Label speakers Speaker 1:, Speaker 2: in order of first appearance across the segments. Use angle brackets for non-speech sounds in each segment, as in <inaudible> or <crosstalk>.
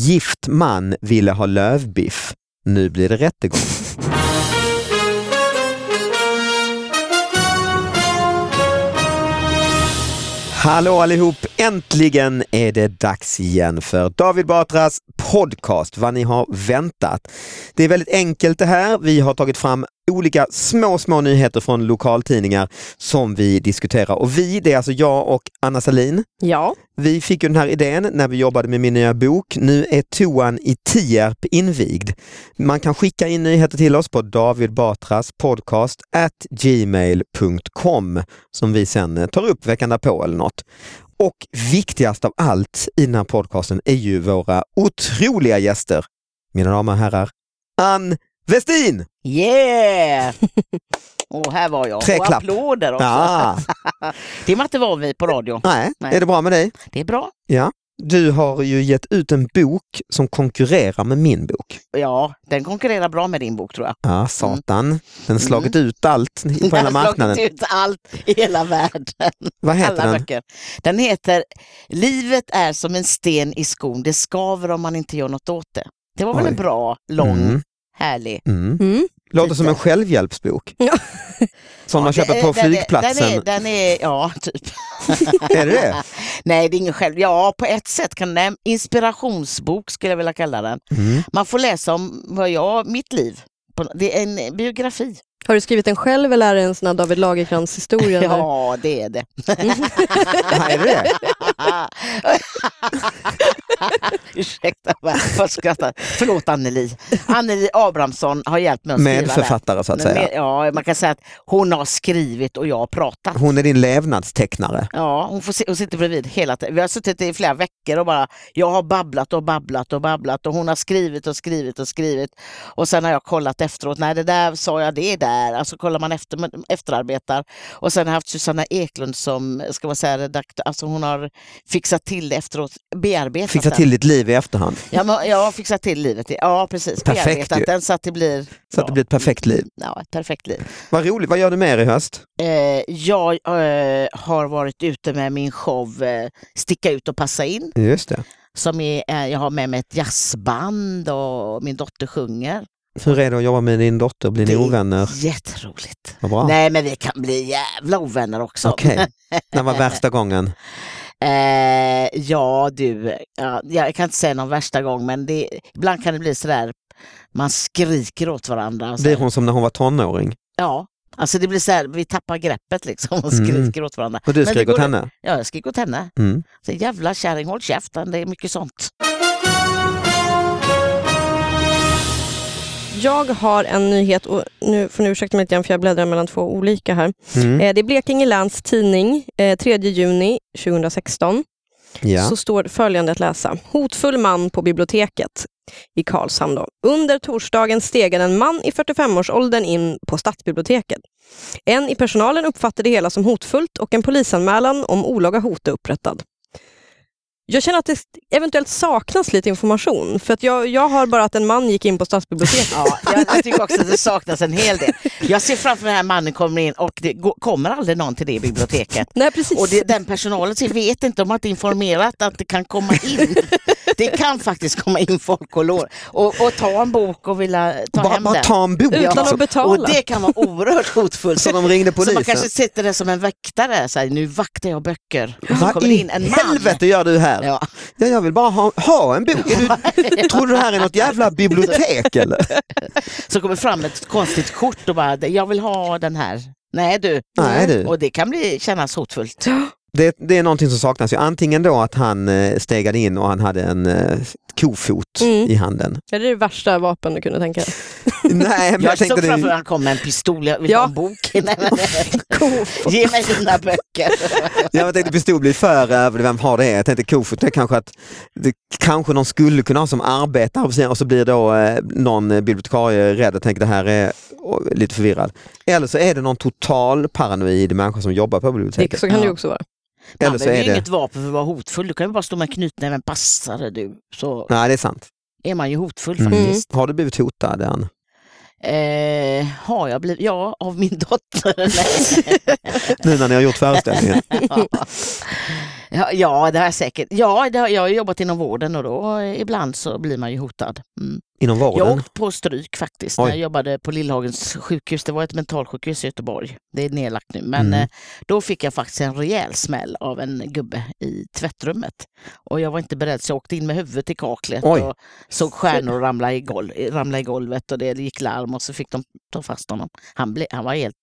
Speaker 1: Gift man ville ha lövbiff. Nu blir det rättegång. Hallå allihop! Äntligen är det dags igen för David Batras podcast, vad ni har väntat. Det är väldigt enkelt det här. Vi har tagit fram olika små, små nyheter från lokaltidningar som vi diskuterar. Och vi, det är alltså jag och Anna Salin.
Speaker 2: Ja.
Speaker 1: Vi fick ju den här idén när vi jobbade med min nya bok. Nu är toan i Tierp invigd. Man kan skicka in nyheter till oss på David Batras podcast at gmail.com som vi sen eh, tar upp veckan därpå eller något. Och viktigast av allt i den här podcasten är ju våra otroliga gäster. Mina damer och herrar, Ann Westin!
Speaker 2: <laughs>
Speaker 3: Yeah! Och här var jag.
Speaker 1: Tre
Speaker 3: och
Speaker 1: klapp.
Speaker 3: applåder också.
Speaker 1: Ah,
Speaker 3: Det är man inte van vid på radio.
Speaker 1: nej,
Speaker 3: Nej.
Speaker 1: är det bra med dig?
Speaker 3: Det är bra.
Speaker 1: Du har ju gett ut en bok som konkurrerar med min bok.
Speaker 3: Ja, den konkurrerar bra med din bok tror jag.
Speaker 1: Ja, satan. Den har slagit ut allt på hela
Speaker 3: Mm. <laughs> Den har slagit
Speaker 1: marknaden.
Speaker 3: ut allt i hela världen.
Speaker 1: Vad <laughs> heter
Speaker 3: Alla
Speaker 1: den?
Speaker 3: böcker. Den heter Livet är som en sten i skon. Det skaver om man inte gör något åt det. Det var väl
Speaker 1: Oj.
Speaker 3: en bra, lång,
Speaker 1: Mm,
Speaker 3: härlig.
Speaker 1: mm.
Speaker 2: Mm.
Speaker 1: Låter som en
Speaker 3: <laughs>
Speaker 1: självhjälpsbok.
Speaker 2: Ja.
Speaker 1: Som man
Speaker 3: Ja,
Speaker 1: köper
Speaker 3: det-
Speaker 1: på
Speaker 3: den är-
Speaker 1: flygplatsen.
Speaker 3: Den är, den är, ja, typ.
Speaker 1: Är det
Speaker 3: <laughs>
Speaker 1: det?
Speaker 3: Nej, det är ingen själv. Ja, på ett sätt kan den... Inspirationsbok skulle jag vilja kalla den.
Speaker 1: Mm.
Speaker 3: Man får läsa om vad jag, mitt liv. På- Det är en biografi.
Speaker 2: Har du skrivit den själv eller är det en sån här David
Speaker 3: <laughs>
Speaker 2: Lagercrantz historia? där?
Speaker 3: Ja, det är det.
Speaker 1: Ja, är det det?
Speaker 3: <laughs> Ursäkta, vad jag skrattar. Förlåt Anneli. Anneli Abrahamsson har hjälpt mig att skriva
Speaker 1: Med författare så att
Speaker 3: den. Men-
Speaker 1: säga.
Speaker 3: Ja, man kan säga att hon har skrivit och jag har pratat.
Speaker 1: Hon är din levnadstecknare.
Speaker 3: Ja, hon, får, si- hon sitter bredvid hela tiden. Vi har suttit i flera veckor och bara, jag har babblat och babblat och babblat och hon har skrivit och skrivit och skrivit. Och sen har jag kollat efteråt, nej det där sa jag, det är där. Alltså kollar man efter, men- efterarbetar. Och sen har jag haft Susanna Eklund som, ska man säga redaktör, alltså hon har fixat till det efteråt, bearbetat
Speaker 1: Fixa
Speaker 3: den.
Speaker 1: till ditt liv i efterhand
Speaker 3: Ja, men jag har fixat till livet. Ja, precis.
Speaker 1: Perfekt
Speaker 3: bearbetat
Speaker 1: ju.
Speaker 3: den så att det blir,
Speaker 1: så att det
Speaker 3: Ja.
Speaker 1: blir ett perfekt liv.
Speaker 3: ja, ett perfekt liv.
Speaker 1: Vad roligt, vad gör du mer i höst?
Speaker 3: Eh, jag eh, har varit ute med min show eh, Sticka ut och passa in.
Speaker 1: Just det.
Speaker 3: som är, eh, jag har med mig ett jazzband och min dotter sjunger.
Speaker 1: Hur är det att jobba med din dotter? Blir ni
Speaker 3: Det-
Speaker 1: ovänner?
Speaker 3: Jätteroligt.
Speaker 1: Vad bra.
Speaker 3: Nej men vi kan bli jävla ovänner också.
Speaker 1: Ah. Okej,
Speaker 3: <laughs>
Speaker 1: när var värsta gången?
Speaker 3: Eh, ja du, ja, jag kan inte säga någon värsta gång men det, ibland kan det bli sådär, man skriker åt varandra. och så
Speaker 1: Blir
Speaker 3: här.
Speaker 1: hon som när hon var tonåring?
Speaker 3: Ja, alltså det blir såhär, vi tappar greppet liksom och
Speaker 1: Mm.
Speaker 3: skriker åt varandra.
Speaker 1: Och du
Speaker 3: Men det
Speaker 1: skrek åt
Speaker 3: går-
Speaker 1: henne?
Speaker 3: Ja, jag skriker åt henne.
Speaker 1: Mm.
Speaker 3: Så, jävla kärring, håll käften, det är mycket sånt.
Speaker 2: Jag har en nyhet och nu får ni ursäkta mig lite grann för jag bläddrar mellan två olika här.
Speaker 1: Mm.
Speaker 2: Eh, Det är Blekinge Läns Tidning, eh, 3 juni 2016.
Speaker 1: Ja.
Speaker 2: Så står följande att läsa. Hotfull man på biblioteket i Karlshamn. Då. Under torsdagen stegade en man i 45-årsåldern in på stadsbiblioteket. En i personalen uppfattade det hela som hotfullt och en polisanmälan om olaga hot är upprättad. Jag känner att det eventuellt saknas lite information, för att jag, jag har bara att en man gick in på stadsbiblioteket.
Speaker 3: Ja, jag, jag tycker också att det saknas en hel del. Jag ser framför mig den här mannen kommer in och det går- kommer aldrig någon till det biblioteket.
Speaker 2: <laughs> Nej, precis.
Speaker 3: Och det, den personalen ser- vet inte, de har inte informerat att det kan komma in. Det kan faktiskt komma in folk och, lå- och, och ta en bok och vilja ta
Speaker 1: Bara,
Speaker 3: hem
Speaker 1: bara
Speaker 3: den.
Speaker 1: ta en bok.
Speaker 2: Utan
Speaker 1: liksom.
Speaker 2: att betala.
Speaker 3: Och det kan vara oerhört hotfullt.
Speaker 1: Så de ringde
Speaker 3: <laughs> Så man
Speaker 1: polisen.
Speaker 3: kanske sitter där som en väktare, så här, nu vaktar jag böcker. Och så
Speaker 1: Vad
Speaker 3: kommer det
Speaker 1: i
Speaker 3: in en man.
Speaker 1: helvete gör du här? Ja.
Speaker 3: Ja.
Speaker 1: jag vill bara ha, ha en bok. Är
Speaker 3: <laughs>
Speaker 1: du, tror du det här är något jävla bibliotek eller?
Speaker 3: Så kommer fram ett konstigt kort och bara, jag vill ha den här. Nej du.
Speaker 1: Nej, du.
Speaker 3: Och det kan bli, kännas hotfullt.
Speaker 1: Det, det är någonting som saknas. ju. Antingen då att han eh, stegade in och han hade en eh, kofot
Speaker 2: Mm.
Speaker 1: i handen.
Speaker 2: Är det det värsta vapen du kunde tänka dig?
Speaker 1: Nej, men
Speaker 3: Jag,
Speaker 1: jag tänkte
Speaker 3: såg framför mig
Speaker 1: det,
Speaker 3: att han kom med en pistol, jag vill
Speaker 2: Ja.
Speaker 3: ha en bok. <laughs> Nej, men,
Speaker 1: <laughs>
Speaker 3: Ge mig dina böcker.
Speaker 1: jag tänkte pistol blir för över vem har det? Jag tänkte kofot, det är kanske att det, kanske någon skulle kunna ha som arbetare vid sidan, och så blir då eh, någon eh, bibliotekarie rädd och tänker det här är och, lite förvirrad. Eller så är det någon total paranoid människa som jobbar på biblioteket.
Speaker 2: Det, <laughs> så kan det ju
Speaker 3: Ja.
Speaker 2: också vara.
Speaker 3: Man
Speaker 1: <laughs> Eller så
Speaker 3: behöver
Speaker 1: är
Speaker 3: ju
Speaker 1: det...
Speaker 3: inget vapen för att vara hotfull. Du kan ju bara stå med en knytnäven, passare du. Så
Speaker 1: Nej, det är sant.
Speaker 3: är man ju hotfull
Speaker 1: Mm.
Speaker 3: faktiskt.
Speaker 1: Har du blivit hotad än?
Speaker 3: Eh, har jag blivit, ja, av min dotter. <laughs> Nej. <laughs>
Speaker 1: Nu när ni har gjort föreställningen?
Speaker 3: Ja. Ja, ja det har jag säkert. Ja, det har, jag har ju jobbat inom vården och då eh, ibland så blir man ju hotad. Mm.
Speaker 1: Inom
Speaker 3: Jag har
Speaker 1: vården?
Speaker 3: åkt på stryk faktiskt
Speaker 1: Oj.
Speaker 3: när jag jobbade på Lillhagens sjukhus. Det var ett mentalsjukhus i Göteborg. Det är nedlagt nu. Men
Speaker 1: Mm.
Speaker 3: eh, då fick jag faktiskt en rejäl smäll av en gubbe i tvättrummet. Och jag var inte beredd så jag åkte in med huvudet i kaklet
Speaker 1: Oj.
Speaker 3: och såg stjärnor ramla i, golv, ramla i golvet och det gick larm och så fick de ta fast honom. Han, ble, han var helt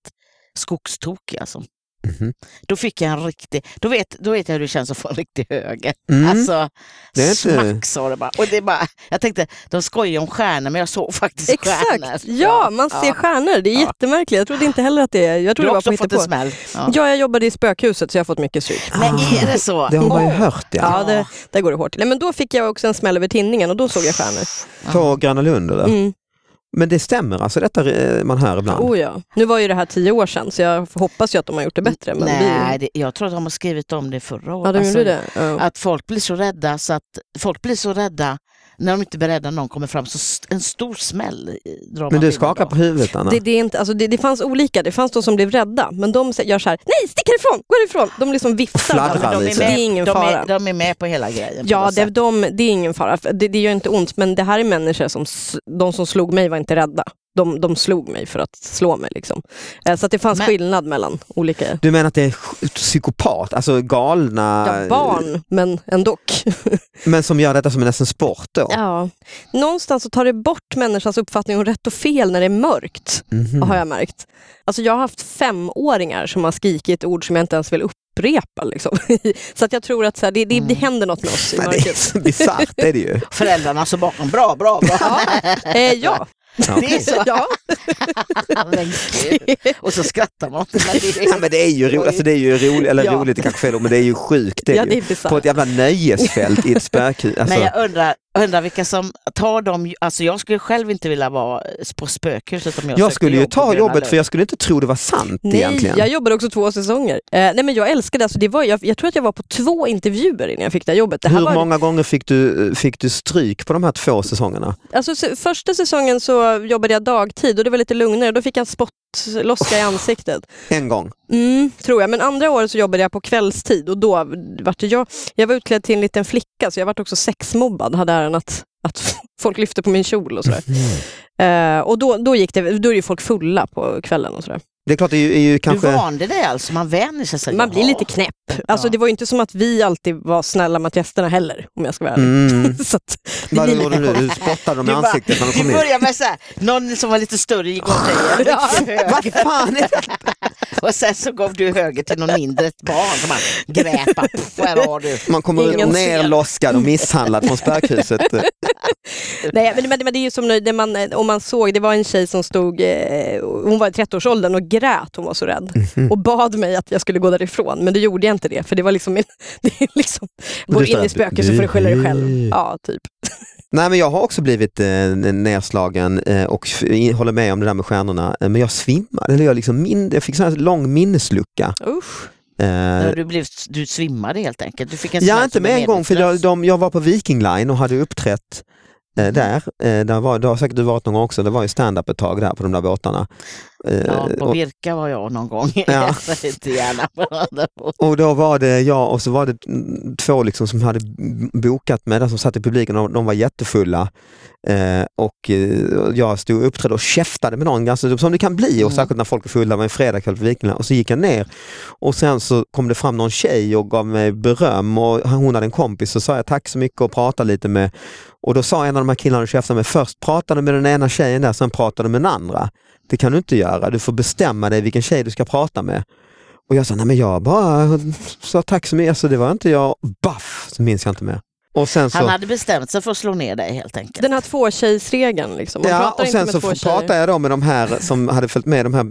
Speaker 3: skogstokig alltså.
Speaker 1: Mhm.
Speaker 3: Då fick jag en riktig, då vet, då vet jag hur det känns att få en riktig höger.
Speaker 1: Mm.
Speaker 3: Alltså,
Speaker 1: Det är inte-
Speaker 3: smack sa det bara. Och det är bara. Jag tänkte, de skojar om stjärnor men jag såg faktiskt stjärnor.
Speaker 2: Exakt, ja man ser stjärnor. Det är
Speaker 3: Ja.
Speaker 2: jättemärkligt. Jag trodde inte heller att det är... Jag
Speaker 3: Du
Speaker 2: trodde
Speaker 3: har
Speaker 2: det var på
Speaker 3: också fått en
Speaker 2: hittepå.
Speaker 3: smäll. Ja.
Speaker 2: Ja, jag jobbade i spökhuset så jag har fått mycket stryk.
Speaker 3: Men
Speaker 1: Ah,
Speaker 3: är det Mm. så?
Speaker 1: Det har man ju
Speaker 3: Åh.
Speaker 1: hört ja.
Speaker 2: Ja, det, där går det hårt. Nej, men då fick jag också en smäll över tinningen och då såg jag stjärnor.
Speaker 1: På Gröna Lund eller?
Speaker 2: Mm.
Speaker 1: Men det stämmer alltså detta eh, man hör ibland?
Speaker 2: Oh, ja. Nu var ju det här tio år sedan så jag hoppas ju att de har gjort det bättre. Men
Speaker 3: Nej, det, jag tror att de har skrivit om det förra
Speaker 2: Vi,
Speaker 3: året.
Speaker 2: ja, de
Speaker 3: Alltså,
Speaker 2: gjorde det. Ja.
Speaker 3: Att folk blir så rädda så att folk blir så rädda när de inte är beredda när någon kommer fram så st- en stor smäll eh, drar man
Speaker 1: Men du
Speaker 3: till
Speaker 1: skakar
Speaker 3: då.
Speaker 1: på huvudet Anna?
Speaker 2: Det, det, är inte, alltså det, det fanns olika, det fanns de som blev rädda, men de sä- gör så här, nej stick härifrån, gå härifrån. De liksom viftar.
Speaker 1: Fladdrar
Speaker 2: med dem.
Speaker 1: lite.
Speaker 2: Det är ingen
Speaker 3: de,
Speaker 2: fara.
Speaker 3: är, de är med på hela grejen. på
Speaker 2: Ja,
Speaker 3: något
Speaker 2: det,
Speaker 3: sätt.
Speaker 2: de, det är ingen fara. För Det, det gör inte ont, men det här är människor som, s- de som slog mig var inte rädda. De, de slog mig för att slå mig. Liksom. Eh, Så att det fanns
Speaker 3: Men-
Speaker 2: skillnad mellan olika
Speaker 1: Du menar att det är sj- psykopat, alltså galna,
Speaker 2: ja, barn, men ändå.
Speaker 1: men som gör detta som en nästan sport då?
Speaker 2: Ja. Någonstans så tar det bort människans uppfattning om rätt och fel när det är mörkt,
Speaker 1: Mhm.
Speaker 2: har jag märkt. Alltså jag har haft femåringar som har skrikit ord som jag inte ens vill upprepa. Liksom. <laughs> Så att jag tror att så här, det, det, det händer något med oss i
Speaker 1: Men det är
Speaker 2: mörkret.
Speaker 1: så bisarrt, det är det
Speaker 2: <laughs>
Speaker 1: ju.
Speaker 3: Föräldrarna så bakom, bra, bra, bra.
Speaker 2: Ja, eh, ja.
Speaker 1: Ja.
Speaker 3: Det är så.
Speaker 2: <laughs> ja.
Speaker 3: Men gud. Och så skrattar man. Men det
Speaker 1: Ja,
Speaker 3: är-
Speaker 1: men det är ju roligt, alltså, det är ju roligt, eller
Speaker 2: Ja.
Speaker 1: roligt det kanske fel ord, men det är ju sjukt. Det är
Speaker 2: ja,
Speaker 1: ju.
Speaker 2: det är bisarrt.
Speaker 1: På ett jävla nöjesfält i ett
Speaker 2: <laughs>
Speaker 1: spökhus. Alltså,
Speaker 3: Men jag undrar, undrar vilka som tar dem, alltså jag skulle själv inte vilja vara på spökhuset om jag
Speaker 1: jag,
Speaker 3: sökte
Speaker 1: skulle ju
Speaker 3: jobb på
Speaker 1: ta
Speaker 3: Gröna
Speaker 1: jobbet
Speaker 3: Lund.
Speaker 1: för jag skulle inte tro det var sant
Speaker 2: Nej,
Speaker 1: egentligen.
Speaker 2: jag jobbade också två säsonger. Eh, nej men jag älskade alltså, det var, jag, jag tror att jag var på två intervjuer innan jag fick det här jobbet. Det här
Speaker 1: Hur
Speaker 2: var,
Speaker 1: många gånger fick du, fick du stryk på de här två säsongerna?
Speaker 2: alltså, se- första säsongen så jobbade jag dagtid och det var lite lugnare. Då fick jag en spottloska i ansiktet.
Speaker 1: En gång?
Speaker 2: Mm, tror jag. Men andra året så jobbade jag på kvällstid och då var det jag, jag var utklädd till en liten flicka så jag var också sexmobbad. Hade äran att, att <laughs> folk lyfte på min kjol och sådär. Eh, och då, då, gick det, då är ju folk fulla på kvällen och sådär.
Speaker 1: Det är klart, det är ju, är ju
Speaker 3: Du
Speaker 1: kanske...
Speaker 3: vande dig alltså, man vänjer sig. så här,
Speaker 2: Man blir
Speaker 3: jaha.
Speaker 2: lite knäpp. Alltså,
Speaker 3: Ja.
Speaker 2: Det var ju inte som att vi alltid var snälla mot gästerna heller, om jag ska vara ärlig. <laughs>
Speaker 1: Mm.
Speaker 2: Så att, det
Speaker 1: Vad
Speaker 2: blir lite
Speaker 1: gjorde du?
Speaker 2: konstigt.
Speaker 1: Du spottade dem i
Speaker 3: Du bara-
Speaker 1: ansiktet när de
Speaker 3: Du
Speaker 1: kom in.
Speaker 3: börjar med så här, någon som var lite större gick åt
Speaker 1: <laughs>
Speaker 3: dig
Speaker 2: Ja.
Speaker 3: riktigt hög.
Speaker 1: Fan, är det-
Speaker 3: och sen så gav du höger till någon mindre ett barn som bara
Speaker 1: <laughs>
Speaker 3: grät, bara, "Pff, här har du.
Speaker 1: Man kommer
Speaker 2: Ingen
Speaker 1: nerloskad och misshandlad från
Speaker 3: <laughs>
Speaker 1: spökhuset.
Speaker 2: Nej, men, men, men det är ju som när- när man, eh, om man såg, det var en tjej som stod, eh, hon var i 30-årsåldern och grät, hon var så rädd.
Speaker 1: Mhm.
Speaker 2: Och bad mig att jag skulle gå därifrån, men då gjorde jag inte det. För det var liksom, <laughs> min, det är liksom
Speaker 1: Men
Speaker 2: går
Speaker 1: du
Speaker 2: in
Speaker 1: sa
Speaker 2: i
Speaker 1: att-
Speaker 2: spöket så får du skylla dig själv. Ja, typ.
Speaker 1: Nej men jag har också blivit eh, nedslagen eh, och f- i- håller med om det där med stjärnorna. Eh, Men jag svimmade, eller jag, liksom min, jag fick sån här lång minneslucka.
Speaker 2: Usch.
Speaker 1: Eh,
Speaker 3: Ja, Du, blev, du svimmade helt enkelt. Du fick en
Speaker 1: jag
Speaker 3: smäll
Speaker 1: inte
Speaker 3: som
Speaker 1: med
Speaker 3: var
Speaker 1: en gång för jag,
Speaker 3: medvetslös. Mm.
Speaker 1: de, jag var på Viking Line och hade uppträtt eh, där. Eh, där var, det har säkert du varit någon gång också, det var ju stand-up ett tag där på de där båtarna. Eh,
Speaker 3: Ja, på
Speaker 1: och,
Speaker 3: Birka var jag någon gång. <laughs>
Speaker 1: Ja.
Speaker 3: Jag säger inte gärna på andra båt.
Speaker 1: <laughs> och då var det jag och så var det mm, två liksom som hade b- bokat med där som satt i publiken och de var jättefulla. Eh, och eh, jag stod och uppträdde och käftade med någon, ganska, som det kan bli, och
Speaker 3: Mm.
Speaker 1: särskilt när folk är fulla, det var en fredagkväll på Vikingarna. Och så gick jag ner och sen så kom det fram någon tjej och gav mig beröm och hon hade en kompis så sa jag tack så mycket och pratade lite med och då sa en av de här killarna du käftade med, först pratade med den ena tjejen där, sen pratade med den andra. Det kan du inte göra, du får bestämma dig vilken tjej du ska prata med. Och jag sa, nej men jag bara sa tack så mycket, alltså, det var inte jag. Baff, så minns jag inte mer. Och sen så...
Speaker 3: Han hade bestämt sig för att slå ner dig helt enkelt.
Speaker 2: Den här tvåtjejsregeln, liksom. man
Speaker 1: Ja,
Speaker 2: pratar
Speaker 1: och
Speaker 2: inte
Speaker 1: sen
Speaker 2: med
Speaker 1: så
Speaker 2: två tjejer.
Speaker 1: pratade jag då med de här som hade följt med, de här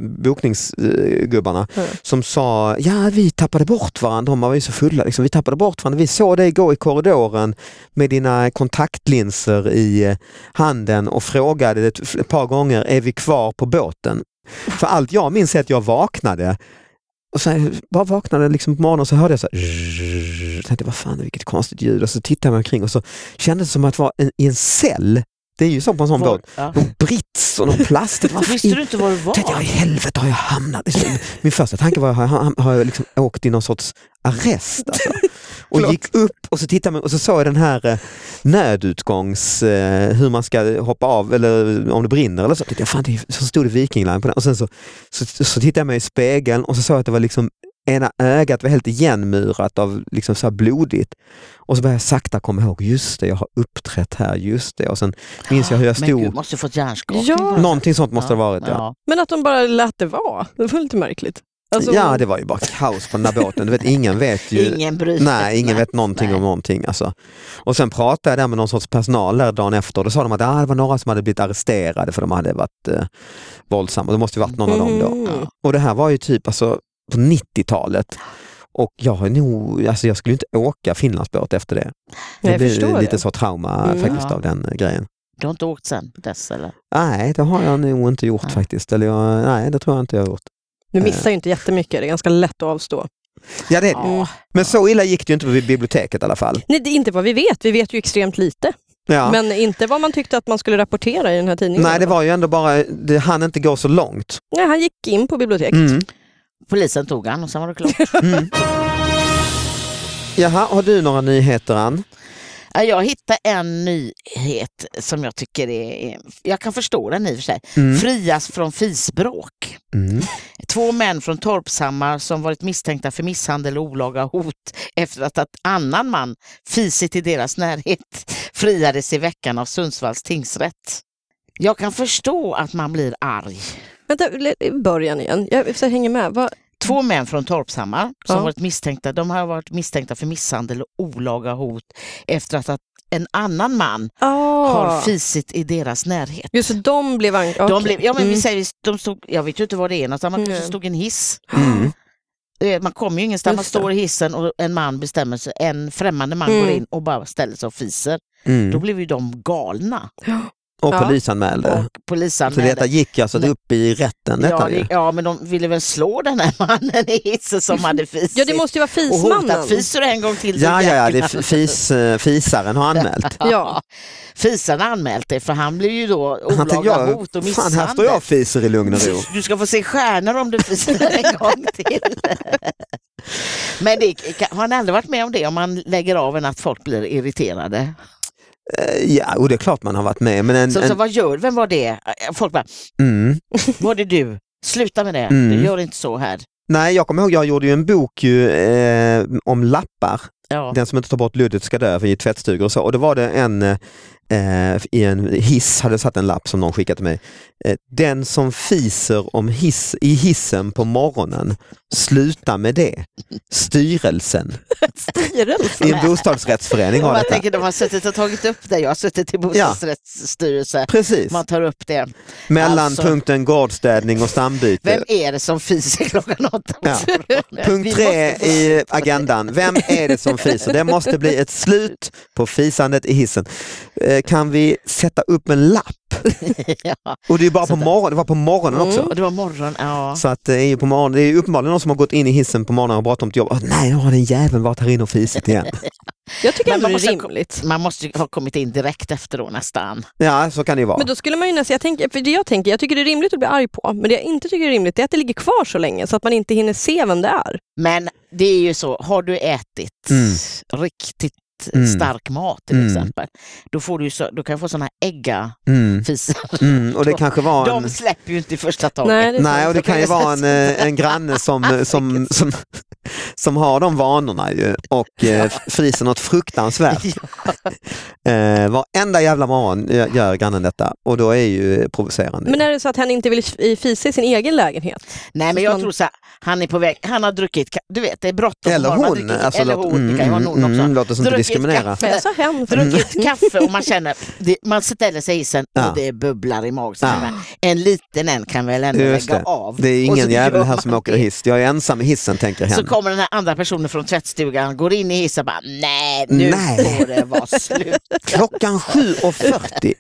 Speaker 1: bokningsgubbarna,
Speaker 2: Mm.
Speaker 1: som sa, ja vi tappade bort varandra, de var ju så fulla, liksom. vi tappade bort varandra. Vi såg dig gå i korridoren med dina kontaktlinser i eh, handen och frågade ett, ett par gånger, är vi kvar på båten? För allt jag minns är att jag vaknade och sen bara vaknade liksom på morgonen och så hörde jag så här, "Zzzz." jag tänkte, vad fan vilket konstigt ljud och så tittade jag mig omkring och så kändes det som att vara en, i en cell. Det är ju så på en sån båt.
Speaker 3: Vår- ja.
Speaker 1: Någon brits och någon plast.
Speaker 3: <laughs>
Speaker 1: Det var
Speaker 3: Visste du inte var du
Speaker 1: tänkte jag, i
Speaker 3: var?
Speaker 1: helvete har jag
Speaker 3: <laughs>
Speaker 1: hamnat? i?" Min första tanke var, har jag, har jag liksom åkt i någon sorts arrest? Alltså. och
Speaker 3: Förlåt.
Speaker 1: gick upp och så tittade man och så såg jag den här eh, nödutgångs, eh, hur man ska hoppa av eller om det brinner eller så. Tänkte jag, fan, det är, så stod det Viking Line på den. Och sen så, så, så tittade jag mig i spegeln och så såg jag att det var liksom ena ögat var helt igenmurat av liksom så här blodigt. Och så började jag sakta komma ihåg, just det jag har uppträtt här, just det. Och sen minns jag hur jag
Speaker 3: Men gud,
Speaker 1: stod.
Speaker 3: måste ju fått hjärnskakning.
Speaker 2: Ja.
Speaker 3: på det här.
Speaker 1: Någonting sånt måste det ha varit. Ja.
Speaker 2: Men att de bara lät det vara, det var lite märkligt. Alltså,
Speaker 1: ja, det var ju bara kaos på den där båten. Du vet, ingen vet ju.
Speaker 3: Ingen bryr sig.
Speaker 1: Nej, ingen vet någonting
Speaker 3: nej.
Speaker 1: om någonting. Alltså. Och sen pratade jag där med någon sorts personal där dagen efter och då sa de att ah, det var några som hade blivit arresterade för de hade varit eh, våldsamma. Det måste ju varit någon av dem då.
Speaker 2: Mhm.
Speaker 3: Ja.
Speaker 1: Och det här var ju typ alltså, på 90-talet. Och jag, har nog, alltså jag skulle ju inte åka Finlandsbåt efter det.
Speaker 2: Nej,
Speaker 1: Det
Speaker 2: jag
Speaker 1: blir
Speaker 2: förstår
Speaker 1: lite
Speaker 2: det.
Speaker 1: så trauma
Speaker 2: Mm.
Speaker 1: faktiskt
Speaker 3: Ja.
Speaker 1: av den eh, grejen.
Speaker 3: Du har inte åkt sen dess eller?
Speaker 1: Nej, det har jag nog inte gjort
Speaker 3: Nej.
Speaker 1: faktiskt. Eller jag, nej, det tror jag inte jag har gjort.
Speaker 2: Du missar ju inte jättemycket, det är ganska lätt att avstå.
Speaker 1: Ja, det,
Speaker 3: Ja.
Speaker 1: Men så illa gick det ju inte på biblioteket i alla fall.
Speaker 2: Nej, det är inte vad vi vet, vi vet ju extremt lite.
Speaker 1: Ja.
Speaker 2: Men inte vad man tyckte att man skulle rapportera i den här tidningen.
Speaker 1: Nej, det var ju ändå bara, det hann inte gå så långt.
Speaker 2: Nej, han gick in på biblioteket.
Speaker 1: Mm.
Speaker 3: Polisen tog han och sen var det
Speaker 2: <laughs>
Speaker 3: klart.
Speaker 1: Mm. Jaha, har du några nyheter Ann?
Speaker 3: Ja, jag hittade en nyhet som jag tycker är... är- Jag kan förstå den i och för sig.
Speaker 1: Mm.
Speaker 3: Frias från fisbråk.
Speaker 1: Mm.
Speaker 3: Två män från Torpshammar som varit misstänkta för misshandel och olaga hot efter att en annan man fisit i deras närhet friades i veckan av Sundsvalls tingsrätt. Jag kan förstå att man blir arg.
Speaker 2: Vänta, le- början igen. Jag så jag hänger med. Vad-
Speaker 3: Två män från Torpshammar som
Speaker 2: Ja.
Speaker 3: varit misstänkta, de har varit misstänkta för misshandel och olaga hot efter att, att en annan man har
Speaker 2: Ah.
Speaker 3: fisit i deras närhet.
Speaker 2: Just det, de blev ank-
Speaker 3: De
Speaker 2: okej.
Speaker 3: blev, ja, men vi
Speaker 2: Mm.
Speaker 3: säger, de stod, jag vet ju inte vad det är, någonstans, man kanske
Speaker 2: Nej.
Speaker 3: stod i en hiss.
Speaker 1: Mm.
Speaker 3: Eh, Man kommer ju ingenstans, man
Speaker 2: Just det.
Speaker 3: står i hissen och en man bestämmer sig, en främmande man
Speaker 2: Mm.
Speaker 3: går in och bara ställer sig och fiser. Då
Speaker 1: Mm.
Speaker 3: blev ju de galna
Speaker 1: Och
Speaker 2: Ja.
Speaker 1: polisanmälde.
Speaker 3: och polisen
Speaker 1: Så detta gick alltså
Speaker 3: Nej.
Speaker 1: upp i rätten?
Speaker 3: ja,
Speaker 1: Detta
Speaker 3: det,
Speaker 1: ju.
Speaker 3: ja, men de ville väl slå den här <laughs> mannen i hissen som hade fisit.
Speaker 2: Ja, det måste ju vara
Speaker 3: och
Speaker 2: fismannen.
Speaker 3: hotat. Fiser du en gång till så
Speaker 1: ja, ja, ja det är
Speaker 3: jäklar.
Speaker 1: f- fis, eh, fisaren har anmält.
Speaker 2: Ja.
Speaker 3: Fisaren har anmält det för han blev ju då
Speaker 1: Han
Speaker 3: <laughs> olaga
Speaker 1: tänkte, jag,
Speaker 3: hot och
Speaker 1: fan
Speaker 3: misshandel.
Speaker 1: här står jag och fiser i lugn och
Speaker 3: <laughs>
Speaker 1: ro.
Speaker 3: Du ska få se stjärnor om du fiser en gång till. Men det, kan- har ni aldrig varit med om det, om man lägger av en att folk blir irriterade?
Speaker 1: Eh, Ja, och det är klart man har varit med. Men en,
Speaker 3: Så, så
Speaker 1: en,
Speaker 3: vad gör Vem var det? Folk bara,
Speaker 1: mm.
Speaker 3: var det du? Sluta med det,
Speaker 1: Mm.
Speaker 3: du gör inte så här.
Speaker 1: Nej, jag kommer ihåg, jag gjorde ju en bok ju, eh, om lappar.
Speaker 3: Ja.
Speaker 1: Den som inte tar bort luddet ska dö för i tvättstugor och så. Och då var det en eh, i en hiss, hade jag satt en lapp som någon skickat till mig. Eh, den som fiser om hiss, i hissen på morgonen, sluta med det. Styrelsen. I en bostadsrättsförening har
Speaker 3: Jag
Speaker 1: detta.
Speaker 3: tänker de har suttit och tagit upp det, jag har suttit i bostadsrättsstyrelse.
Speaker 1: Precis,
Speaker 3: Man tar upp det.
Speaker 1: mellan
Speaker 3: alltså-
Speaker 1: punkten gårdsstädning och
Speaker 3: Vem
Speaker 1: stambyte.
Speaker 3: är det som fiser klockan åtta på
Speaker 1: Ja.
Speaker 3: morgonen? Vi
Speaker 1: Punkt tre
Speaker 3: måste få-
Speaker 1: i agendan, vem är det som fiser? Det måste bli ett slut på fisandet i hissen. Eh, kan vi sätta upp en lapp?
Speaker 3: <laughs> ja.
Speaker 1: Och det är bara på
Speaker 3: Sånt där.
Speaker 1: morgonen, det var på morgonen
Speaker 2: Mm.
Speaker 1: också.
Speaker 3: Och det var morgon, ja.
Speaker 1: Så att det är ju på morgonen, det är ju uppenbarligen någon som har gått in i hissen på morgonen och bråttom till jobbet. Åh, Nej, nu har den jäveln varit här inne och fisit
Speaker 3: <laughs>
Speaker 1: igen.
Speaker 2: <laughs> Jag tycker
Speaker 3: Men
Speaker 2: ändå
Speaker 3: man
Speaker 2: det är
Speaker 3: måste ha-
Speaker 2: rimligt.
Speaker 3: Man måste ju ha kommit in direkt efter då nästan.
Speaker 1: Ja, så kan det ju vara.
Speaker 2: Men då skulle man ju nästan, jag tänker, för det jag tänker, jag tycker det är rimligt att bli arg på, men det jag inte tycker är rimligt det är att det ligger kvar så länge så att man inte hinner se vem det är.
Speaker 3: Men det är ju så, har du ätit riktigt
Speaker 1: Mm.
Speaker 3: stark mat till
Speaker 1: Mm.
Speaker 3: exempel, då, får du ju så, då kan du få sådana här äggafisar.
Speaker 1: Mm. Mm. Och det kanske var en...
Speaker 3: <laughs> De släpper ju inte i första taget. <laughs>
Speaker 2: Nej, det är
Speaker 1: Nej, och det
Speaker 3: de
Speaker 1: kan ju
Speaker 3: kan
Speaker 1: vara en, eh, en granne
Speaker 3: <laughs>
Speaker 1: som, som, som, som har de vanorna ju och eh, fryser något fruktansvärt. Eh, varenda jävla morgon eh, gör grannen detta och då är ju provocerande.
Speaker 2: Men är det så att han inte vill f- fisa i sin egen lägenhet?
Speaker 3: Nej
Speaker 2: Så
Speaker 3: men jag
Speaker 2: man-
Speaker 3: tror så här, han är på väg, han har druckit, ka- du vet det är bråttom.
Speaker 1: Eller
Speaker 3: Man har
Speaker 1: hon,
Speaker 3: druckit-
Speaker 1: alltså,
Speaker 3: eller
Speaker 1: låt-
Speaker 3: hon, det kan ju vara någon
Speaker 1: mm,
Speaker 3: också.
Speaker 1: mm, låt oss inte
Speaker 3: Druckit
Speaker 1: diskriminera.
Speaker 2: Men
Speaker 3: Kaffe,
Speaker 2: jag sa hen.
Speaker 1: Mm.
Speaker 3: druckit kaffe och man känner, det, man ställer sig i isen
Speaker 1: Ja.
Speaker 3: och det bubblar i magen.
Speaker 1: Ja.
Speaker 3: Men En liten en kan väl ändå
Speaker 1: Just
Speaker 3: lägga
Speaker 1: det.
Speaker 3: av.
Speaker 1: Det är
Speaker 3: Och
Speaker 1: ingen
Speaker 3: så gör
Speaker 1: jävel här
Speaker 3: man
Speaker 1: som åker
Speaker 3: det.
Speaker 1: hiss. Jag är ensam i hissen tänker
Speaker 3: Så
Speaker 1: hen.
Speaker 3: kommer den här andra personen från tvättstugan, går in i hissen och bara nej nu
Speaker 1: Nej.
Speaker 3: får det vara slut.
Speaker 1: Klockan 7.40.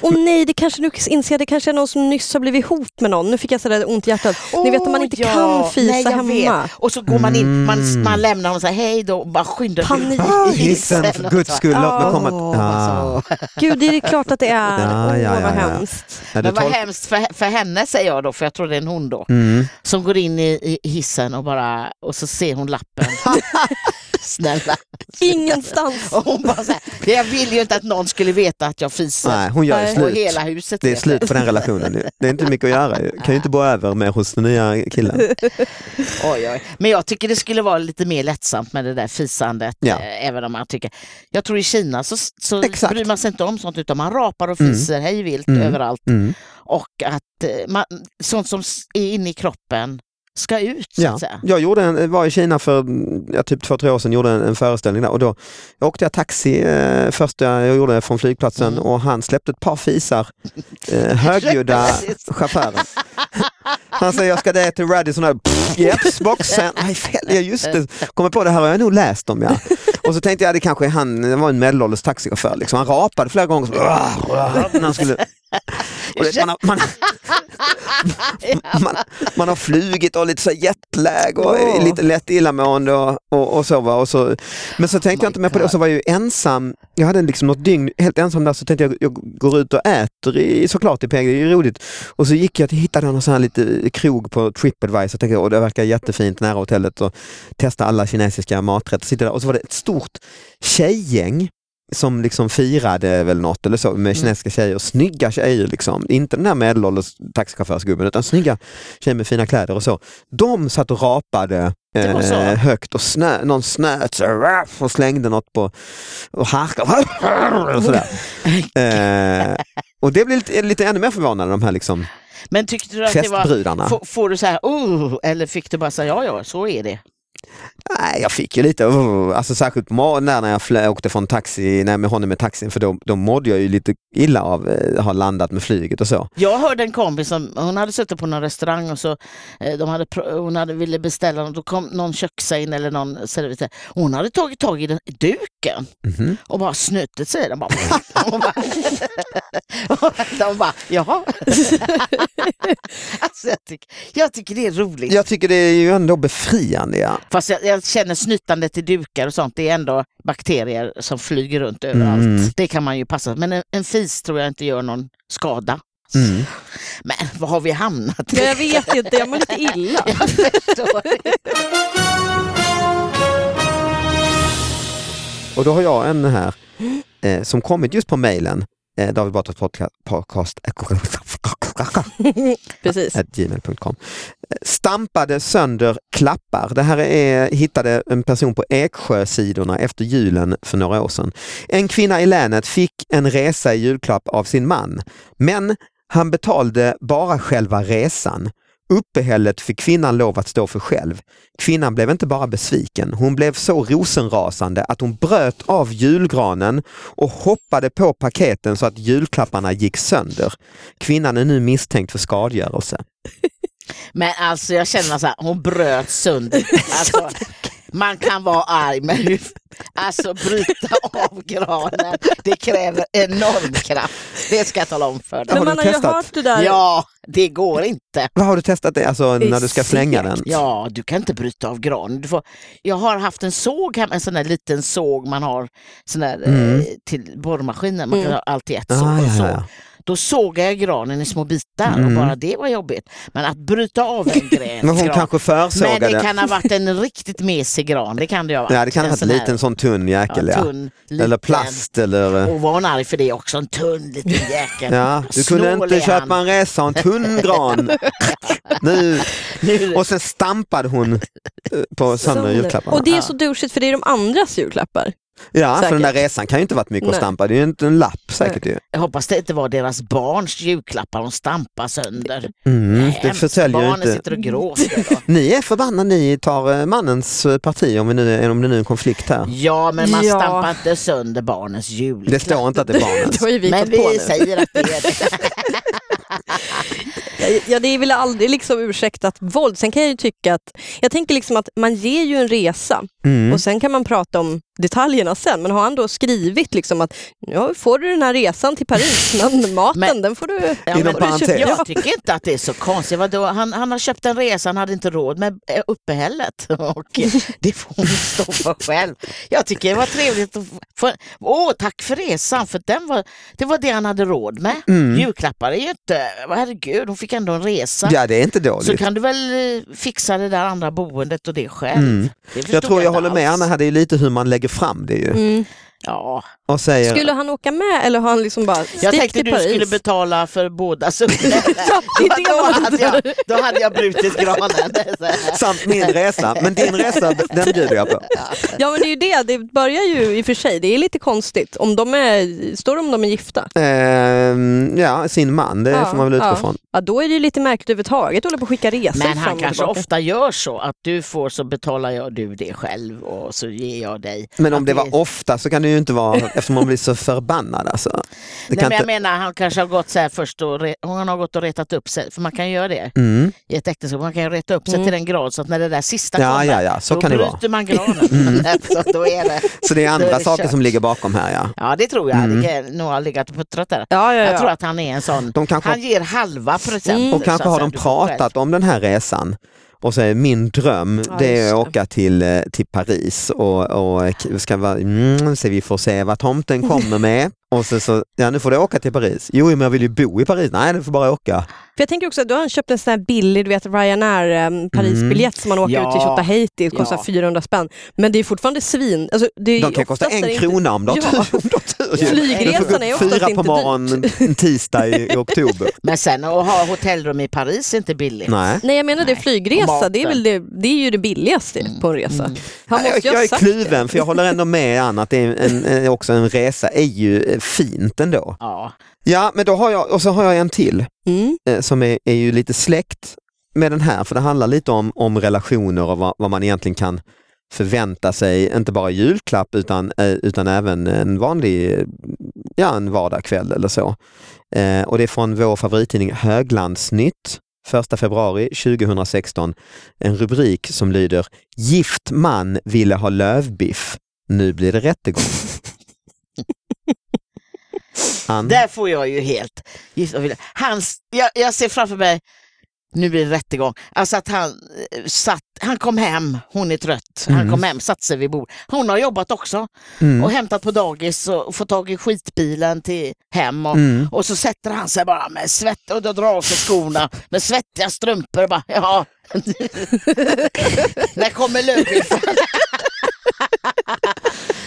Speaker 2: Åh nej, det kanske nu inser jag, det kanske är någon som nyss har blivit hot med någon. Nu fick jag sådär ont i hjärtat. <laughs> Ni vet att man
Speaker 3: Åh,
Speaker 2: inte
Speaker 3: ja.
Speaker 2: kan fisa
Speaker 3: Nej, jag
Speaker 2: hemma.
Speaker 3: Vet. Och så går man in,
Speaker 1: Mm.
Speaker 3: man, man lämnar och säger hej då och bara skyndar sig
Speaker 2: Panik.
Speaker 3: ut i
Speaker 2: Ah,
Speaker 1: Hissen för guds skull, låt mig komma. Ah,
Speaker 3: Åh,
Speaker 1: Ja.
Speaker 3: alltså.
Speaker 2: Gud, det är det klart att det är.
Speaker 1: Ja, ja,
Speaker 2: Åh,
Speaker 1: ja,
Speaker 2: vad
Speaker 1: ja.
Speaker 2: hemskt.
Speaker 1: Ja, du
Speaker 3: Men vad
Speaker 1: tol-
Speaker 3: hemskt för, för henne säger jag då, för jag tror det är en hon då,
Speaker 1: Mm. <laughs>
Speaker 3: som går in i, i hissen och bara, och så ser hon lappen. Snälla.
Speaker 2: Ingenstans.
Speaker 3: Och hon bara så här, jag ville ju inte att någon skulle veta att jag fiser.
Speaker 1: Nej, hon gör ju
Speaker 2: Nej.
Speaker 3: Och
Speaker 1: slut.
Speaker 3: hela huset
Speaker 1: Det är
Speaker 3: vet
Speaker 1: slut på den relationen nu. Det är inte mycket att
Speaker 3: <laughs>
Speaker 1: göra. Jag kan ju inte bo över med hos den nya killen.
Speaker 3: Oj, oj. Men jag tycker det skulle vara lite mer lättsamt med det där fisandet.
Speaker 1: Ja.
Speaker 3: Eh, även om man tycker... Jag tror i Kina så, så
Speaker 1: Exakt.
Speaker 3: bryr man sig inte om sånt utan man rapar och
Speaker 1: Mm.
Speaker 3: fiser hej vilt
Speaker 1: Mm.
Speaker 3: överallt.
Speaker 1: Mm.
Speaker 3: Och att eh, man, sånt som s- är inne i kroppen ska ut. Så
Speaker 1: Ja.
Speaker 3: att säga.
Speaker 1: Jag gjorde en, var i Kina för mm, ja, typ två, tre år sedan, gjorde en, en föreställning där och då åkte jag taxi eh, första jag gjorde från flygplatsen
Speaker 3: Mm.
Speaker 1: och han släppte ett par fisar, eh,
Speaker 3: <laughs>
Speaker 1: högljudda
Speaker 3: Precis.
Speaker 1: chauffören. Han säger jag ska det till Radisson här, Pff, jeps, boxen, nej fel, ja, just det, kommer på det här har jag nog läst om ja. Och så tänkte jag det kanske är han, det var en medelålders taxichaufför, liksom. han rapade flera gånger. Så, "Åh, åh", när han skulle, och det, man, har, man, man, man har flugit och lite så här jetlag och är
Speaker 3: Åh.
Speaker 1: lite lätt illamående och, och, och så. Va? Och så men så tänkte
Speaker 3: my
Speaker 1: jag inte mer på det
Speaker 3: God.
Speaker 1: och så var jag ju ensam. Jag hade liksom något dygn helt ensam där så tänkte jag jag går ut och äter i, såklart i PG, det är ju roligt. Och så gick jag till hittade någon sån här lite krog på Tripadvisor och tänkte jag, "Åh, det verkar jättefint nära hotellet och testa alla kinesiska maträtter. Sitter där. Och så var det ett stort tjejgäng som liksom firade väl något eller så
Speaker 3: Mm.
Speaker 1: med kinesiska tjejer, snygga tjejer liksom. Inte den där medelålders taxichaufförsgubben utan snygga tjejer med fina kläder och så. De satt och rapade
Speaker 3: Det var så?
Speaker 1: eh, högt och snö, någon snöt så här, raff, och slängde något på och harkade och
Speaker 3: <laughs>
Speaker 1: sådär. eh, och det blir lite, lite ännu mer förvånande de här liksom
Speaker 3: Men tyckte du att det var...
Speaker 1: festbrudarna.
Speaker 3: Får, får du så här, oh, eller fick du bara säga ja, ja, så är det.
Speaker 1: Nej, jag fick ju lite, oh, alltså särskilt på morgonen när jag flö, åkte från taxi, nej, med honom med taxin för då, då mådde jag ju lite illa av eh, att ha landat med flyget och så.
Speaker 3: Jag hörde en kompis som hon hade suttit på någon restaurang och så eh, de hade, pr- hon hade ville beställa och då kom någon köksa in eller någon servitör. Hon hade tagit tag i den, duken
Speaker 1: Mhm.
Speaker 3: och bara snutit sig i den. Bara, <laughs> och bara, och de bara, <laughs> jaha. alltså jag, tycker, jag tycker det är roligt.
Speaker 1: Jag tycker det är ju ändå befriande. Ja.
Speaker 3: Fast jag, jag känner snytandet i dukar och sånt, det är ändå bakterier som flyger runt överallt.
Speaker 1: Mm.
Speaker 3: Det kan man ju passa. Men en, en fis tror jag inte gör någon skada.
Speaker 1: Mm.
Speaker 3: Men vad har vi hamnat <laughs>
Speaker 2: Ja, jag vet inte, jag mår lite illa.
Speaker 3: Jag förstår.
Speaker 1: Och då har jag en här eh, som kommit just på mejlen, eh, David Batras podca- podcast
Speaker 2: Precis.
Speaker 1: at gmail.com. Eh, Stampade sönder klappar. Det här är, hittade en person på Eksjösidorna efter julen för några år sedan. En kvinna i länet fick en resa i julklapp av sin man, men han betalade bara själva resan. Uppehället fick kvinnan lov att stå för själv. Kvinnan blev inte bara besviken, hon blev så rosenrasande att hon bröt av julgranen och hoppade på paketen så att julklapparna gick sönder. Kvinnan är nu misstänkt för skadegörelse.
Speaker 3: Men alltså jag känner så här, hon bröt sönder.
Speaker 2: <laughs>
Speaker 3: Alltså, man kan vara arg men hur- alltså bryta av granen, det kräver enorm kraft. Det ska jag tala om för dig.
Speaker 1: har du
Speaker 2: Men man har ju
Speaker 1: testat?
Speaker 2: hört det där.
Speaker 3: Ja, det går inte.
Speaker 1: Vad har du testat det, alltså
Speaker 2: Det är
Speaker 1: när du ska slänga
Speaker 2: segt.
Speaker 1: den?
Speaker 3: Ja, du kan inte bryta av granen. Du får, jag har haft en såg hemma, en sån där liten såg man har sån där, eh,
Speaker 1: Mm.
Speaker 3: till borrmaskinen. Man kan
Speaker 2: Mm.
Speaker 3: ha allt i ett såg.
Speaker 1: Ah,
Speaker 3: och
Speaker 1: ja,
Speaker 3: så.
Speaker 1: ja, ja.
Speaker 3: Då sågade jag granen i små bitar och
Speaker 1: Mm.
Speaker 3: bara det var jobbigt. Men att bryta av
Speaker 1: <laughs>
Speaker 3: en gren,
Speaker 1: Men hon
Speaker 3: gran,
Speaker 1: kanske
Speaker 3: men
Speaker 1: försågade.
Speaker 3: det kan ha varit en riktigt mesig gran, det kan det ju ha varit.
Speaker 1: ja, det kan ha
Speaker 3: En
Speaker 1: varit en
Speaker 3: sån här,
Speaker 1: liten sån tunn jäkel. Ja,
Speaker 3: ja, tunn, liten.
Speaker 1: Eller plast eller... eh,
Speaker 3: Och var hon arg för det också, en tunn
Speaker 1: <laughs>
Speaker 3: liten jäkel.
Speaker 1: Ja, du kunde
Speaker 3: Snål
Speaker 1: inte
Speaker 3: är
Speaker 1: köpa
Speaker 3: han.
Speaker 1: en resa och en tunn
Speaker 3: <laughs>
Speaker 1: gran. nu.
Speaker 3: Nu-
Speaker 1: Och sen stampade hon eh, på sönder
Speaker 2: Sönder.
Speaker 1: julklapparna.
Speaker 2: Och det är så douchigt för det är de andras julklappar.
Speaker 1: Ja, för
Speaker 2: säkert.
Speaker 1: den där resan kan ju inte varit mycket att
Speaker 2: Nej.
Speaker 1: stampa. Det är ju inte en lapp säkert ju.
Speaker 3: Jag hoppas det inte var deras barns julklappar hon stampade sönder.
Speaker 1: Mm, det
Speaker 3: Hemskt.
Speaker 1: försäljer ju
Speaker 3: Barnen
Speaker 1: inte.
Speaker 3: sitter och gråter. då.
Speaker 1: Ni är förbannade, ni tar eh, mannens eh, parti om, vi nu är, om det nu är en konflikt här.
Speaker 3: Ja, men man
Speaker 2: Ja.
Speaker 3: stampar inte sönder barnens julklappar.
Speaker 1: Det står inte att det är
Speaker 3: <laughs>
Speaker 1: barnens.
Speaker 2: Det har ju vi
Speaker 3: Men
Speaker 2: gått på
Speaker 3: vi
Speaker 2: nu.
Speaker 3: säger att det är det.
Speaker 2: Ja, det är väl aldrig liksom ursäktat våld. Sen kan jag ju tycka att, jag tänker liksom att man ger ju en resa
Speaker 1: Mm.
Speaker 2: och sen kan man prata om detaljerna sen, men har han då skrivit liksom att nu får du den här resan till Paris,
Speaker 3: <laughs>
Speaker 2: men maten
Speaker 3: Men-
Speaker 2: den får du...
Speaker 1: Inom
Speaker 2: får du
Speaker 1: parentes.
Speaker 2: köpa."
Speaker 3: Jag tycker inte att det är så konstigt. Vadå? Han, han har köpt en resa, han hade inte råd med eh, uppehället. <laughs> Och eh, det får hon stå för själv. Jag tycker det var trevligt att få... Åh, tack för resan, för den var, det var det han hade råd med.
Speaker 1: Mm.
Speaker 3: Julklappar är ju inte... Herregud, hon fick ändå en resa.
Speaker 1: Ja, det är inte
Speaker 3: Så
Speaker 1: dåligt.
Speaker 3: kan du väl eh, fixa det där andra boendet och det själv.
Speaker 1: Mm.
Speaker 3: Det förstod
Speaker 1: Jag tror jag
Speaker 3: inte
Speaker 1: håller med
Speaker 3: alls.
Speaker 1: Anna här, det är ju lite hur man lägger fram det ju.
Speaker 2: Mm.
Speaker 3: Ja.
Speaker 1: Och säger,
Speaker 2: Skulle han åka med eller har han liksom bara
Speaker 3: Jag
Speaker 2: stick
Speaker 3: tänkte
Speaker 2: till
Speaker 3: du
Speaker 2: Paris?
Speaker 3: skulle
Speaker 2: <laughs>
Speaker 3: betala för båda så
Speaker 2: Ja, det är det
Speaker 3: <laughs> då,
Speaker 2: jag
Speaker 3: hade
Speaker 2: undrar.
Speaker 3: jag, då hade jag brutit granen. Så
Speaker 2: <laughs>
Speaker 3: här.
Speaker 1: samt min resa, men din resa den bjuder jag på.
Speaker 2: Ja men det är ju det, det börjar ju i och för sig, det är lite konstigt. Om de är, står det om de är gifta?
Speaker 1: Ehm, ja, sin man, det
Speaker 2: Ja,
Speaker 1: får man väl utgå
Speaker 2: ja.
Speaker 1: från.
Speaker 2: Ja då är det ju lite märkligt överhuvudtaget att hålla på och skicka resor
Speaker 3: Men
Speaker 2: fram
Speaker 3: han
Speaker 2: och
Speaker 3: kanske
Speaker 2: tillbaka.
Speaker 3: ofta gör så att du får så betalar jag du det själv och så ger jag dig.
Speaker 1: Men om
Speaker 3: Att
Speaker 1: det var ofta så kan det ju inte vara, eftersom man blir så förbannad alltså. Det
Speaker 3: Nej,
Speaker 1: kan
Speaker 3: men jag
Speaker 1: inte...
Speaker 3: menar han kanske har gått så här först och re... hon har gått och retat upp sig, för man kan göra det
Speaker 1: Mm.
Speaker 3: i ett äktenskap, man kan ju reta upp sig
Speaker 2: Mm.
Speaker 3: till den grad så att när det där sista
Speaker 1: Ja,
Speaker 3: kommer
Speaker 1: ja, ja, så
Speaker 3: då
Speaker 1: kan det vara. Mm.
Speaker 3: bryter man granen. <laughs> så då är det.
Speaker 1: Så det är
Speaker 3: Då är
Speaker 1: andra
Speaker 3: det
Speaker 1: saker
Speaker 3: kört.
Speaker 1: som ligger bakom här ja.
Speaker 3: Ja det tror jag,
Speaker 1: Mm.
Speaker 3: det kan nog har legat och puttrat där.
Speaker 2: Ja, ja, ja.
Speaker 3: Jag tror att han är en sån,
Speaker 1: De kanske,
Speaker 3: han ger halva procent.
Speaker 2: Mm.
Speaker 1: och kanske har de pratat om den här resan och säger min dröm
Speaker 2: Ja,
Speaker 1: det är att
Speaker 2: just
Speaker 1: åka till, eh, till Paris och, och k- ska vara, mm, så vi får se vad tomten kommer
Speaker 2: <laughs>
Speaker 1: med. Och sen så, ja nu får du åka till Paris. Jo men jag vill ju bo i Paris. Nej du får bara åka.
Speaker 2: För jag tänker också att du har han köpt en sån här billig du vet, Ryanair eh, Parisbiljett som man åker
Speaker 3: Ja.
Speaker 1: Mm.
Speaker 2: ut till Tjotahejti, kostar
Speaker 3: Ja.
Speaker 2: 400 spänn. Men det är fortfarande svin. Alltså, det är
Speaker 1: De kan kosta
Speaker 2: oftast är det
Speaker 1: en
Speaker 2: inte-
Speaker 1: krona om du har
Speaker 2: Ja.
Speaker 1: tur. om du har tur ju.
Speaker 3: Du får gå
Speaker 2: <laughs> Flygresan
Speaker 3: upp
Speaker 2: är oftast
Speaker 1: Fyra på
Speaker 2: inte
Speaker 1: morgonen
Speaker 2: dyrt.
Speaker 1: en tisdag i, i
Speaker 2: <laughs>
Speaker 1: oktober.
Speaker 3: Men sen att ha hotellrum i Paris är inte billigt.
Speaker 1: Nej.
Speaker 2: Nej jag menar det,
Speaker 3: Nej.
Speaker 2: flygresa
Speaker 3: Och
Speaker 2: det är, väl det, det är ju det billigaste på en resa. Han måste
Speaker 1: Mm. Jag,
Speaker 2: ju ha
Speaker 1: jag är
Speaker 2: sagt
Speaker 1: kluven för jag håller ändå med Anna att det är en, en, eh, också en resa är ju eh, fint ändå.
Speaker 3: Ja.
Speaker 1: Ja men då har jag, och så har jag en till.
Speaker 2: det. Mm.
Speaker 1: eh, som är, är ju lite släkt med den här, för det handlar lite om, om relationer och vad, vad man egentligen kan förvänta sig, inte bara i julklapp utan, eh, utan även en vanlig eh, ja, en vardagskväll eller så. Eh, och det är från vår favorittidning Höglandsnytt, 1 februari 2016. En rubrik som lyder Gift man ville ha lövbiff, nu blir det
Speaker 3: <laughs>
Speaker 1: rättegång. Han,
Speaker 3: Där får jag ju helt... gissa vilja. Hans, jag, jag ser framför mig, nu blir det rättegång, alltså att han eh, satt, han kom hem, hon är trött, han
Speaker 1: Mm.
Speaker 3: kom hem, satte sig vid bord. Hon har jobbat också
Speaker 1: mm,
Speaker 3: och hämtat på dagis och fått tag i skitbilen till hem och,
Speaker 1: mm.
Speaker 3: och så sätter han sig bara med svett och då drar av sig skorna med svettiga strumpor och bara, ja. <laughs> När kommer lövbiffen?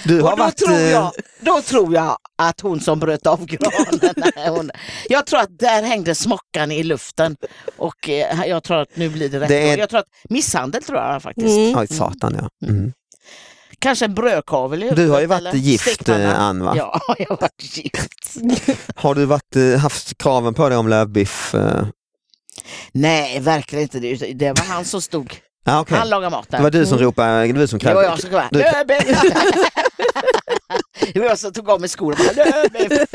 Speaker 1: Du har
Speaker 3: Och då,
Speaker 1: varit...
Speaker 3: tror
Speaker 1: eh,
Speaker 3: jag, då tror jag att hon som bröt av <laughs> granen, nej, hon, jag tror att där hängde smockan i luften och eh, jag tror att nu blir det rätt.
Speaker 1: Det är-
Speaker 3: Jag tror att misshandel tror jag faktiskt.
Speaker 2: Mm.
Speaker 1: Ja, satan ja. Mm.
Speaker 3: Kanske en brödkavel
Speaker 1: Du
Speaker 3: i
Speaker 1: har ju
Speaker 3: huvudet,
Speaker 1: varit
Speaker 3: eller
Speaker 1: gift
Speaker 3: stekpanna.
Speaker 1: eh, Ann va?
Speaker 3: Ja, <laughs> jag har varit gift.
Speaker 1: Har du varit, eh, haft kraven på dig om lövbiff? eh?
Speaker 3: Nej, verkligen inte. Det Det var han som stod.
Speaker 1: Ja, okej.
Speaker 3: Han lagade
Speaker 1: Det
Speaker 3: maten.
Speaker 1: var du som ropade, det var du som
Speaker 3: Det var jag
Speaker 1: krävde.
Speaker 3: som kom här.
Speaker 1: Du-
Speaker 3: Löbiff! <laughs> Det var jag som tog av mig skorna. och bara, "Löbiff!"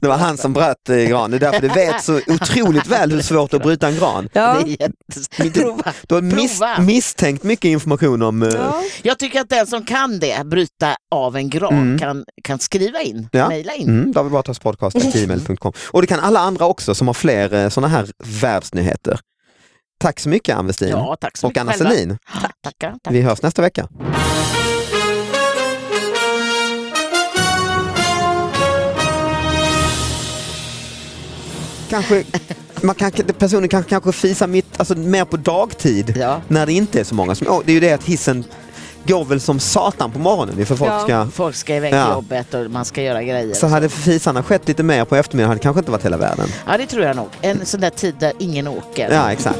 Speaker 1: Det var han som bröt eh, gran. Det är därför du vet
Speaker 3: <laughs>
Speaker 1: så otroligt väl hur svårt att bryta en gran.
Speaker 2: Ja.
Speaker 3: Det är jättes- Prova.
Speaker 1: Du har mis-
Speaker 3: Prova.
Speaker 1: misstänkt mycket information om... eh,
Speaker 2: Ja.
Speaker 3: Jag tycker att den som kan det, bryta av en gran,
Speaker 1: Mm.
Speaker 3: kan, kan skriva in,
Speaker 1: Ja.
Speaker 3: mejla in.
Speaker 1: Mm, David Batras podcast gmail.com. Och det kan alla andra också som har fler sådana här världsnyheter. Tack så mycket Ann Westin
Speaker 3: Ja, tack så
Speaker 1: och
Speaker 3: mycket
Speaker 1: Anna
Speaker 3: själva.
Speaker 1: Selin.
Speaker 3: Tackar. Tack.
Speaker 1: Vi hörs nästa vecka. Kanske, man kan, personen kan kanske fisa mitt, alltså mer på dagtid
Speaker 3: Ja.
Speaker 1: när det inte är så många som... Åh, det är ju det att hissen går väl som satan på morgonen. Det är för folk
Speaker 2: Ja.
Speaker 1: ska...
Speaker 3: Folk ska iväg till
Speaker 1: Ja.
Speaker 3: jobbet och man ska göra grejer.
Speaker 1: Så hade fisarna skett lite mer på eftermiddagen hade det kanske inte varit hela världen.
Speaker 3: Ja, det tror jag nog. En sån där tid där ingen åker.
Speaker 1: Ja, exakt.